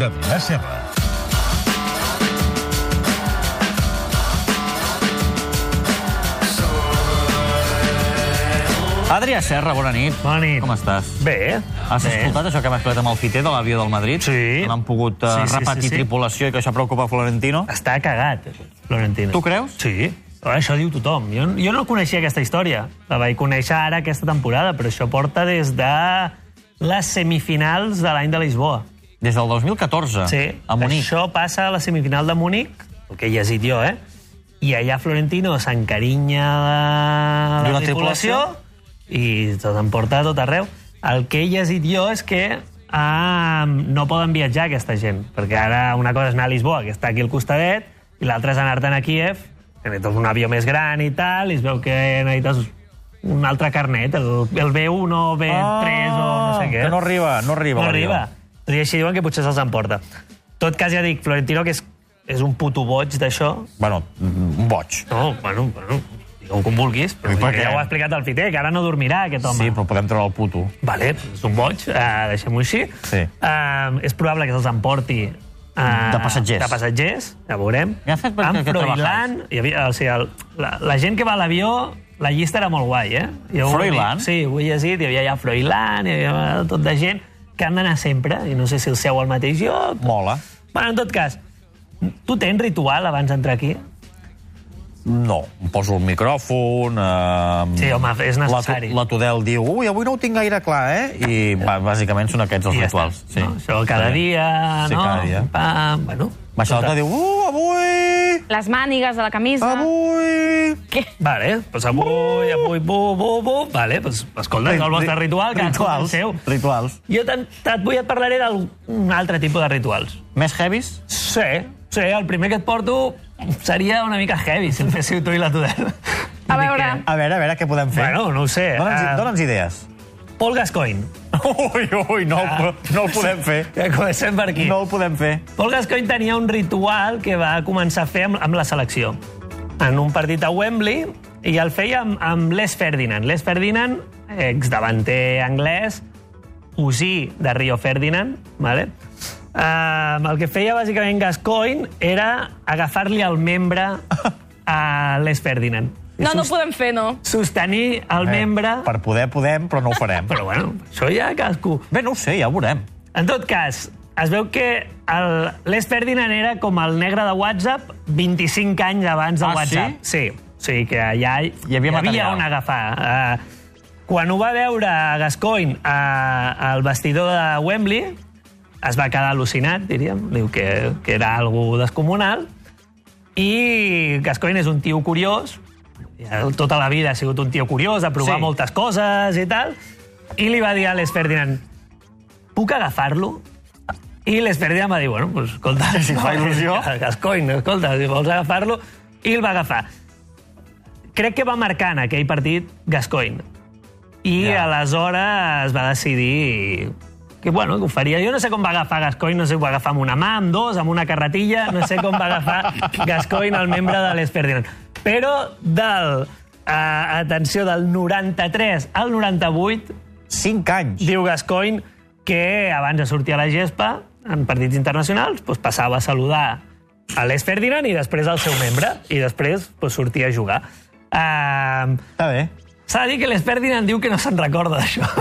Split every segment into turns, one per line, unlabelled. de Vila Serra.
Adrià Serra, bona nit.
Bona nit.
Com estàs?
Bé.
Has
bé.
escoltat això que hem explicat amb el fiter de l'avió del Madrid?
Sí.
Que L'han pogut eh,
Sí, sí,
repetir
sí, sí.
tripulació i que això preocupa Florentino?
Està cagat, Florentino.
Tu creus?
Sí. Però això diu tothom. Jo, jo no coneixia aquesta història. La vaig conèixer ara aquesta temporada, però això porta des de les semifinals de l'any de Lisboa.
Des del 2014,
Sí.
a Munic.
Això passa a la semifinal de Múnich, el que he llegit jo, eh? I allà Florentino s'encarinya de
D'una
la tripulació i tot emporta a tot arreu. El que he llegit jo és que ah, no poden viatjar aquesta gent, perquè ara una cosa és anar a Lisboa, que està aquí al costadet, i l'altra és anar-te'n a Kiev, que necessites un avió més gran i tal, i es veu que necessites un altre carnet, el, el B1 o B3 o no sé què.
Ah. Que no arriba, no arriba.
No
l'avió.
arriba. Tot i així diuen que potser se'ls emporta. Tot cas, ja dic, Florentino, que és, és un puto boig d'això.
Bueno, un boig.
No, bueno, bueno, digueu com vulguis, però
I per què?
ja ho ha explicat el Fiter, que ara no dormirà aquest home.
Sí, però podem treure el puto.
Vale, és un boig, uh, deixem-ho així.
Sí.
Uh, és probable que se'ls emporti uh,
De passatgers.
De passatgers, ja veurem.
Què ha fet per-
Han
que- que
Froilán... hi havia- O sigui, el, la, la gent que va a l'avió, la llista era molt guai, eh? I avui-
Froilán?
Sí, ho he llegit, hi havia ja Froilán, hi havia tot de gent que han d'anar sempre, i no sé si el seu al mateix lloc.
Mola.
Bueno, en tot cas, tu tens ritual abans d'entrar aquí?
No, em poso el micròfon... Eh,
Sí, home, és necessari.
La, la Tudel diu, ui, avui no ho tinc gaire clar, eh? I bà- bàsicament són aquests els
I ja
rituals.
està, no? Això cada dia,
Sí,
no?
cada dia.
Pam, bueno. tota
Baixa l'altre i diu, uh, avui,
Les mànigues de la camisa.
avui...
Vale, doncs avui, avui, bu, bu, bu... Vale, doncs, escolta, és el vostre ritual, que el
rituals,
seu.
Rituals.
Jo te'n- te'n vull, et parlaré d'un altre tipus de rituals.
Més heavies?
Sí, sí, el primer que et porto seria una mica heavy, si el féssiu tu i la Tudel.
A veure.
A veure, a veure què podem fer.
Bueno, no ho sé.
Dóna'ns,
eh,
dóna'ns idees.
Paul Gascoigne.
Ui, ui, no, ho- no ho podem fer.
Ja comencem per aquí.
No ho podem fer.
Paul Gascoigne tenia un ritual que va començar a fer amb, amb la selecció. En un partit a Wembley, i el feia amb, amb Les Ferdinand. Les Ferdinand, exdavanter anglès, cosí de Rio Ferdinand, vale? Uh, el que feia bàsicament Gascoigne era agafar-li el membre a Les Ferdinand. I
No, Eh. no ho
sos-
podem fer, no.
Sostenir el membre...
Eh, Per poder, podem, però no ho farem.
Però bueno, això ja cadascú.
Bé, no ho sé, ja ho veurem.
En tot cas, es veu que el Les Ferdinand era com el negre de WhatsApp 25 anys abans de
Ah,
WhatsApp. Sí? sí? Sí, que allà hi
Hi havia material.
on agafar. Uh, quan ho va veure Gascoigne uh, al vestidor de Wembley, es va quedar al·lucinat, diríem. Diu que, que era algo descomunal. I Gascoigne és un tio curiós, ja tota la vida ha sigut un tio curiós, de provar
Sí.
sí. moltes coses i tal, i li va dir a Les Ferdinand, puc agafar-lo? I Les Ferdinand va dir, bueno, pues, escolta... Si
fa il·lusió.
Gascoigne, escolta, si vols agafar-lo... I el va agafar. Crec que va marcar en aquell partit Gascoigne. I
Ja.
ja. aleshores va decidir que, bueno, que ho faria. Jo no sé com va agafar Gascoigne, no sé si ho va agafar amb una mà, amb dos, amb una carretilla, no sé com va agafar Gascoigne el membre de Les Ferdinand. Però del, eh, atenció, del 93 al 98
Cinc anys.
diu Gascoigne que abans de sortir a la gespa, en partits internacionals, doncs passava a saludar a l'Es Ferdinand i després al seu membre, i després doncs, sortia a jugar. Uh,
Està bé.
S'ha de dir que l'Es Ferdinand diu que no se'n recorda d'això,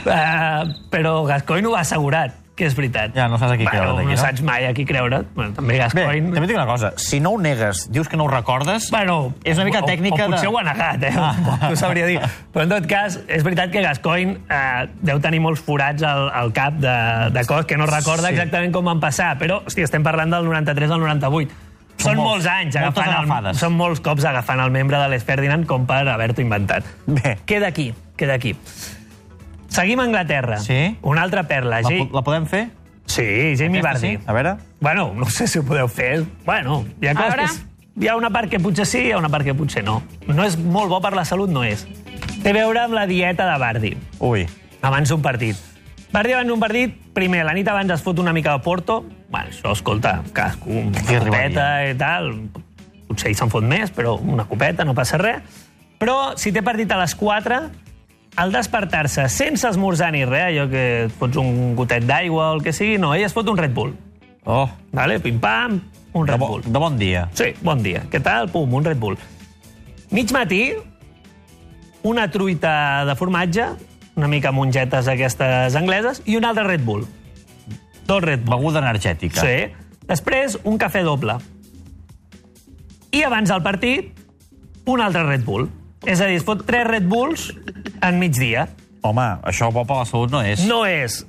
uh, però Gascoigne ho ha assegurat, que és veritat.
Ja, no saps a qui creure't,
bueno,
aquí, no?
no? saps mai a qui creure't. Bueno,
Bé,
també Gascoigne...
també et dic una cosa. Si no ho negues, dius que no ho recordes...
Bueno,
És una mica
o-
tècnica de-
o, o potser ho ha negat, eh? Ah. Ho sabria dir. Però en tot cas, és veritat que Gascoigne eh, deu tenir molts forats al, al cap de, de cos, que no recorda
Sí.
sí. exactament com van passar, però hòstia, estem parlant del 93 al 98.
Són
Són
molts,
molts, anys
moltes
agafant el,
agafades.
són molts cops agafant el membre de l'Es Ferdinand com per haver-t'ho inventat.
Bé.
Queda aquí, queda aquí. Seguim a Anglaterra.
Sí.
Una altra perla.
La,
Ja-
po- la podem fer?
Sí, Jamie
Aquesta
Vardy.
Sí? A veure...
Bueno, no sé si ho podeu fer. Bueno, hi ha, coses
Ara?
que és- hi ha una part que potser sí, hi ha una part que potser no. No és molt bo per la salut, no és. Té a veure amb la dieta de Bardi,
Ui.
abans d'un partit. Bardi abans d'un partit, primer, la nit abans es fot una mica de porto. Bueno, això, escolta, cadascú, una
Qui arribaria?
copeta i tal. Potser ell se'n fot més, però una copeta, no passa res. Però si té partit a les 4, al despertar-se sense esmorzar ni res, allò que et fots un gotet d'aigua o el que sigui, no, ella es fot un Red Bull.
Oh,
Vale? Pim-pam, un
de,
Red
bo,
Bull.
de bon dia.
Sí, bon dia. Què tal? Pum, un Red Bull. Mig matí, una truita de formatge, una mica mongetes aquestes angleses, i un altre Red Bull. Dos Red Bull.
Beguda energètica.
Sí. Després, un cafè doble. I abans del partit, un altre Red Bull. És a dir, es fot tres Red Bulls en migdia.
Home, això bo per la salut no és.
No és...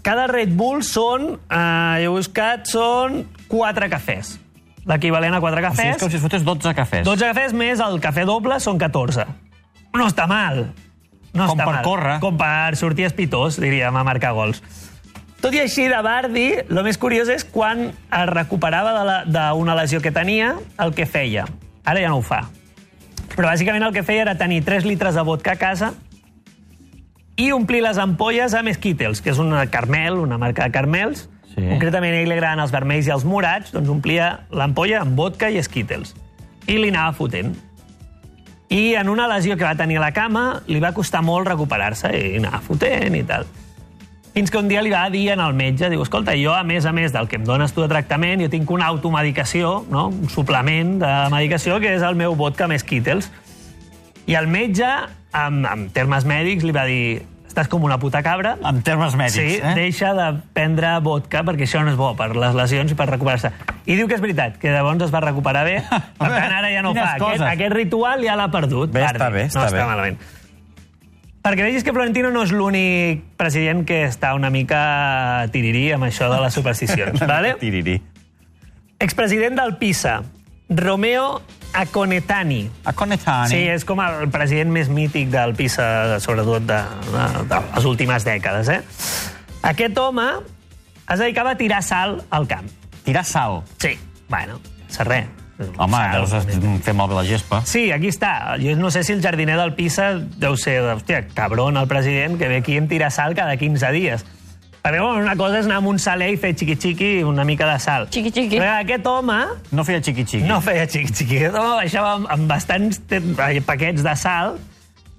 Cada Red Bull són, eh, he buscat, són quatre cafès. L'equivalent a quatre
O sigui,
cafès.
és com si es fotés 12 cafès.
12 cafès més el cafè doble són 14. No està mal. No
Com
està
per
mal.
córrer.
Com per sortir espitós, diríem, a marcar gols. Tot i així, de Bardi, el més curiós és quan es recuperava de la- d'una lesió que tenia, el que feia. Ara ja no ho fa. Però bàsicament el que feia era tenir 3 litres de vodka a casa i omplir les ampolles amb Skittles, que és una carmel, una marca de carmels.
Sí.
Concretament a ell li agraden els vermells i els morats, doncs omplia l'ampolla amb vodka i Skittles. I li anava fotent. I en una lesió que va tenir a la cama, li va costar molt recuperar-se i anava fotent i tal. Fins que un dia li va dir en el metge, diu, escolta, jo, a més a més del que em dones tu de tractament, jo tinc una automedicació, no? un suplement de medicació, que és el meu vodka més Skittles. I el metge, en, en termes mèdics, li va dir, estàs com una puta cabra,
En termes mèdics,
sí,
eh?
deixa de prendre vodka perquè això no és bo per les lesions i per recuperar-se. I diu que és veritat, que de bons es va recuperar bé, per tant ara ja no ho
Quines
fa. Aquest,
coses.
aquest ritual ja l'ha perdut.
Bé,
Bardi.
està bé,
no
està
està
bé.
malament. Perquè vegis que Florentino no és l'únic president que està una mica tirirí amb això de les supersticions. vale?
Tiriri.
Expresident del PISA, Romeo Aconetani.
A Conetani.
Sí, és com el president més mític del PISA, sobretot de, de, de les últimes dècades. Eh? Aquest home es dedicava a tirar sal al camp.
Tirar sal.
Sí. Bueno, ser res.
Home,
Sal.
deus es- mm, fer malbé la gespa.
Sí, aquí està. Jo no sé si el jardiner del Pisa deu ser, hòstia, cabron el president, que ve aquí em tira sal cada 15 dies. Perquè bueno, una cosa és anar amb un saler i fer xiqui-xiqui i una mica de sal.
Xiqui-xiqui.
Però aquest home
No feia xiqui-xiqui.
no feia xiqui-xiqui. Aquest home baixava amb, amb bastants te- eh, paquets de sal.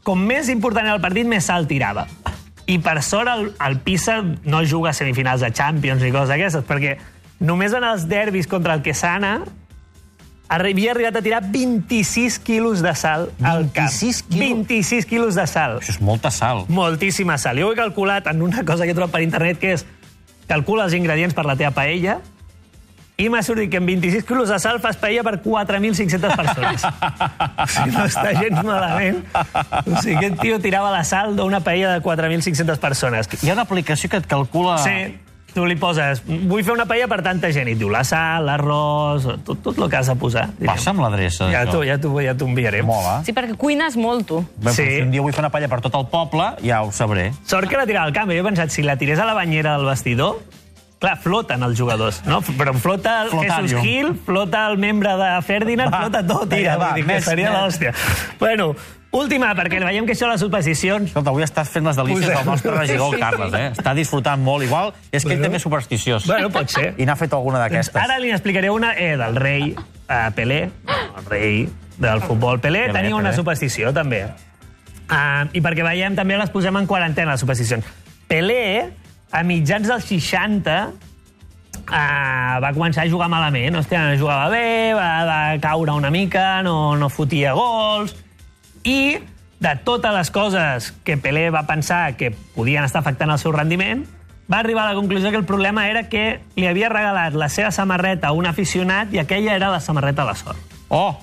Com més important era el partit, més sal tirava. I per sort el, el Pisa no juga a semifinals de Champions ni coses d'aquestes, perquè només en els derbis contra el Quesana havia arribat a tirar 26 quilos de sal al cap.
26 quilos?
26 quilos de sal.
Això és molta sal.
Moltíssima sal. Jo ho he calculat en una cosa que he trobat per internet, que és calcula els ingredients per la teva paella i m'ha sortit que amb 26 quilos de sal fas paella per 4.500 persones. o sigui, no està gens malament. O sigui, aquest tio tirava la sal d'una paella de 4.500 persones.
Hi ha una aplicació que et calcula...
Sí, tu li poses, vull fer una paella per tanta gent, i et diu la sal, l'arròs, tot, tot el que has de posar.
Passa amb l'adreça,
Ja
això.
t'ho ja t'ho- ja t'ho enviaré.
Mola.
Sí, perquè cuines molt, tu.
Bé,
Sí.
sí. Si un dia vull fer una palla per tot el poble, ja ho sabré.
Sort que la tirava al camp. Jo he pensat, si la tirés a la banyera del vestidor, clar, floten els jugadors, no? Però flota el
Flotàrio.
Jesus Gil, flota el membre de Ferdinand,
Va,
flota tot. Tira,
vinga, va,
va, que
més,
seria
més.
l'hòstia. Bueno, última, perquè veiem que això de les supersticions...
Escolta, avui estàs fent les delícies
Posem.
del nostre regidor, el Carles, eh? Està disfrutant molt igual. És que ell també és supersticiós.
Bueno, pot ser.
I n'ha fet alguna d'aquestes.
Ara li n'explicaré una eh, del rei eh, Pelé, no, el rei del futbol. Pelé,
Pelé,
tenia una
Pelé.
superstició, també. Uh, I perquè veiem, també les posem en quarantena, les supersticions. Pelé, a mitjans dels 60, uh, va començar a jugar malament. Hòstia, no jugava bé, va, va caure una mica, no, no fotia gols... I de totes les coses que Pelé va pensar que podien estar afectant el seu rendiment, va arribar a la conclusió que el problema era que li havia regalat la seva samarreta a un aficionat i aquella era la samarreta de la sort.
Oh!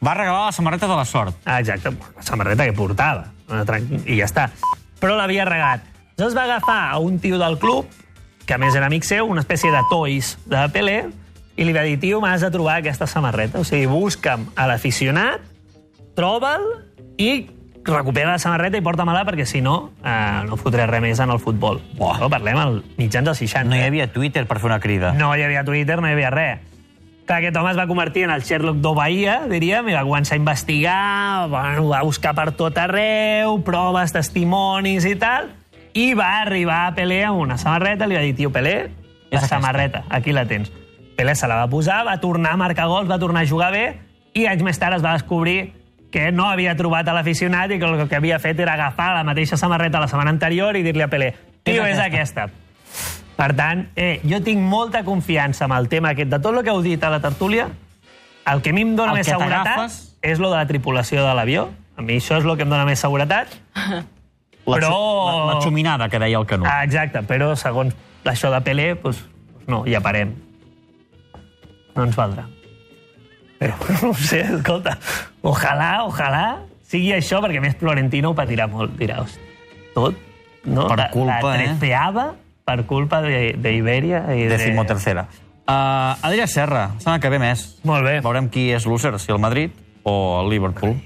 Va regalar la samarreta de la sort.
Ah, Exacte, la samarreta que portava. Una tran- I ja està. Però l'havia regalat. Llavors va agafar a un tio del club, que a més era amic seu, una espècie de toys de Pelé, i li va dir, tio, m'has de trobar aquesta samarreta. O sigui, busca'm a l'aficionat troba'l i recupera la samarreta i porta-me-la perquè, si no, eh, no fotré res més en el futbol.
Buah.
No, parlem al mitjans dels 60.
No hi havia Twitter per fer una crida.
no hi havia Twitter, no hi havia res. Clar, aquest home es va convertir en el Sherlock do Bahia, diríem, i va començar a investigar, bueno, va buscar per tot arreu, proves, testimonis i tal, i va arribar a Pelé amb una samarreta, li va dir, tio, Pelé, la
aquesta.
samarreta, aquí la tens. Pelé se la va posar, va tornar a marcar gols, va tornar a jugar bé, i anys més tard es va descobrir que no havia trobat a l'aficionat i que el que havia fet era agafar la mateixa samarreta la setmana anterior i dir-li a Pelé, tio, és aquesta. Per tant, eh, jo tinc molta confiança amb el tema aquest. De tot el que heu dit a la tertúlia, el que a mi em dóna
El
més
que
seguretat
t'agafes.
és lo de la tripulació de l'avió. A mi això és el que em dóna més seguretat.
Ah. La,
Però-
la, la xuminada que deia el Canut.
Ah, exacte, però segons això de Pelé, doncs, doncs no, ja parem. No ens valdrà. Però no ho sé, escolta, ojalà, ojalà sigui això, perquè a més Florentino ho patirà molt, dirà, hosti, tot, no?
Per culpa,
la, la
eh?
treceava per culpa d'Iberia. De, de,
Décimo tercera. Uh, Adrià Serra, sembla que ve més.
Molt bé.
Veurem qui és l'úser, si el Madrid o el Liverpool.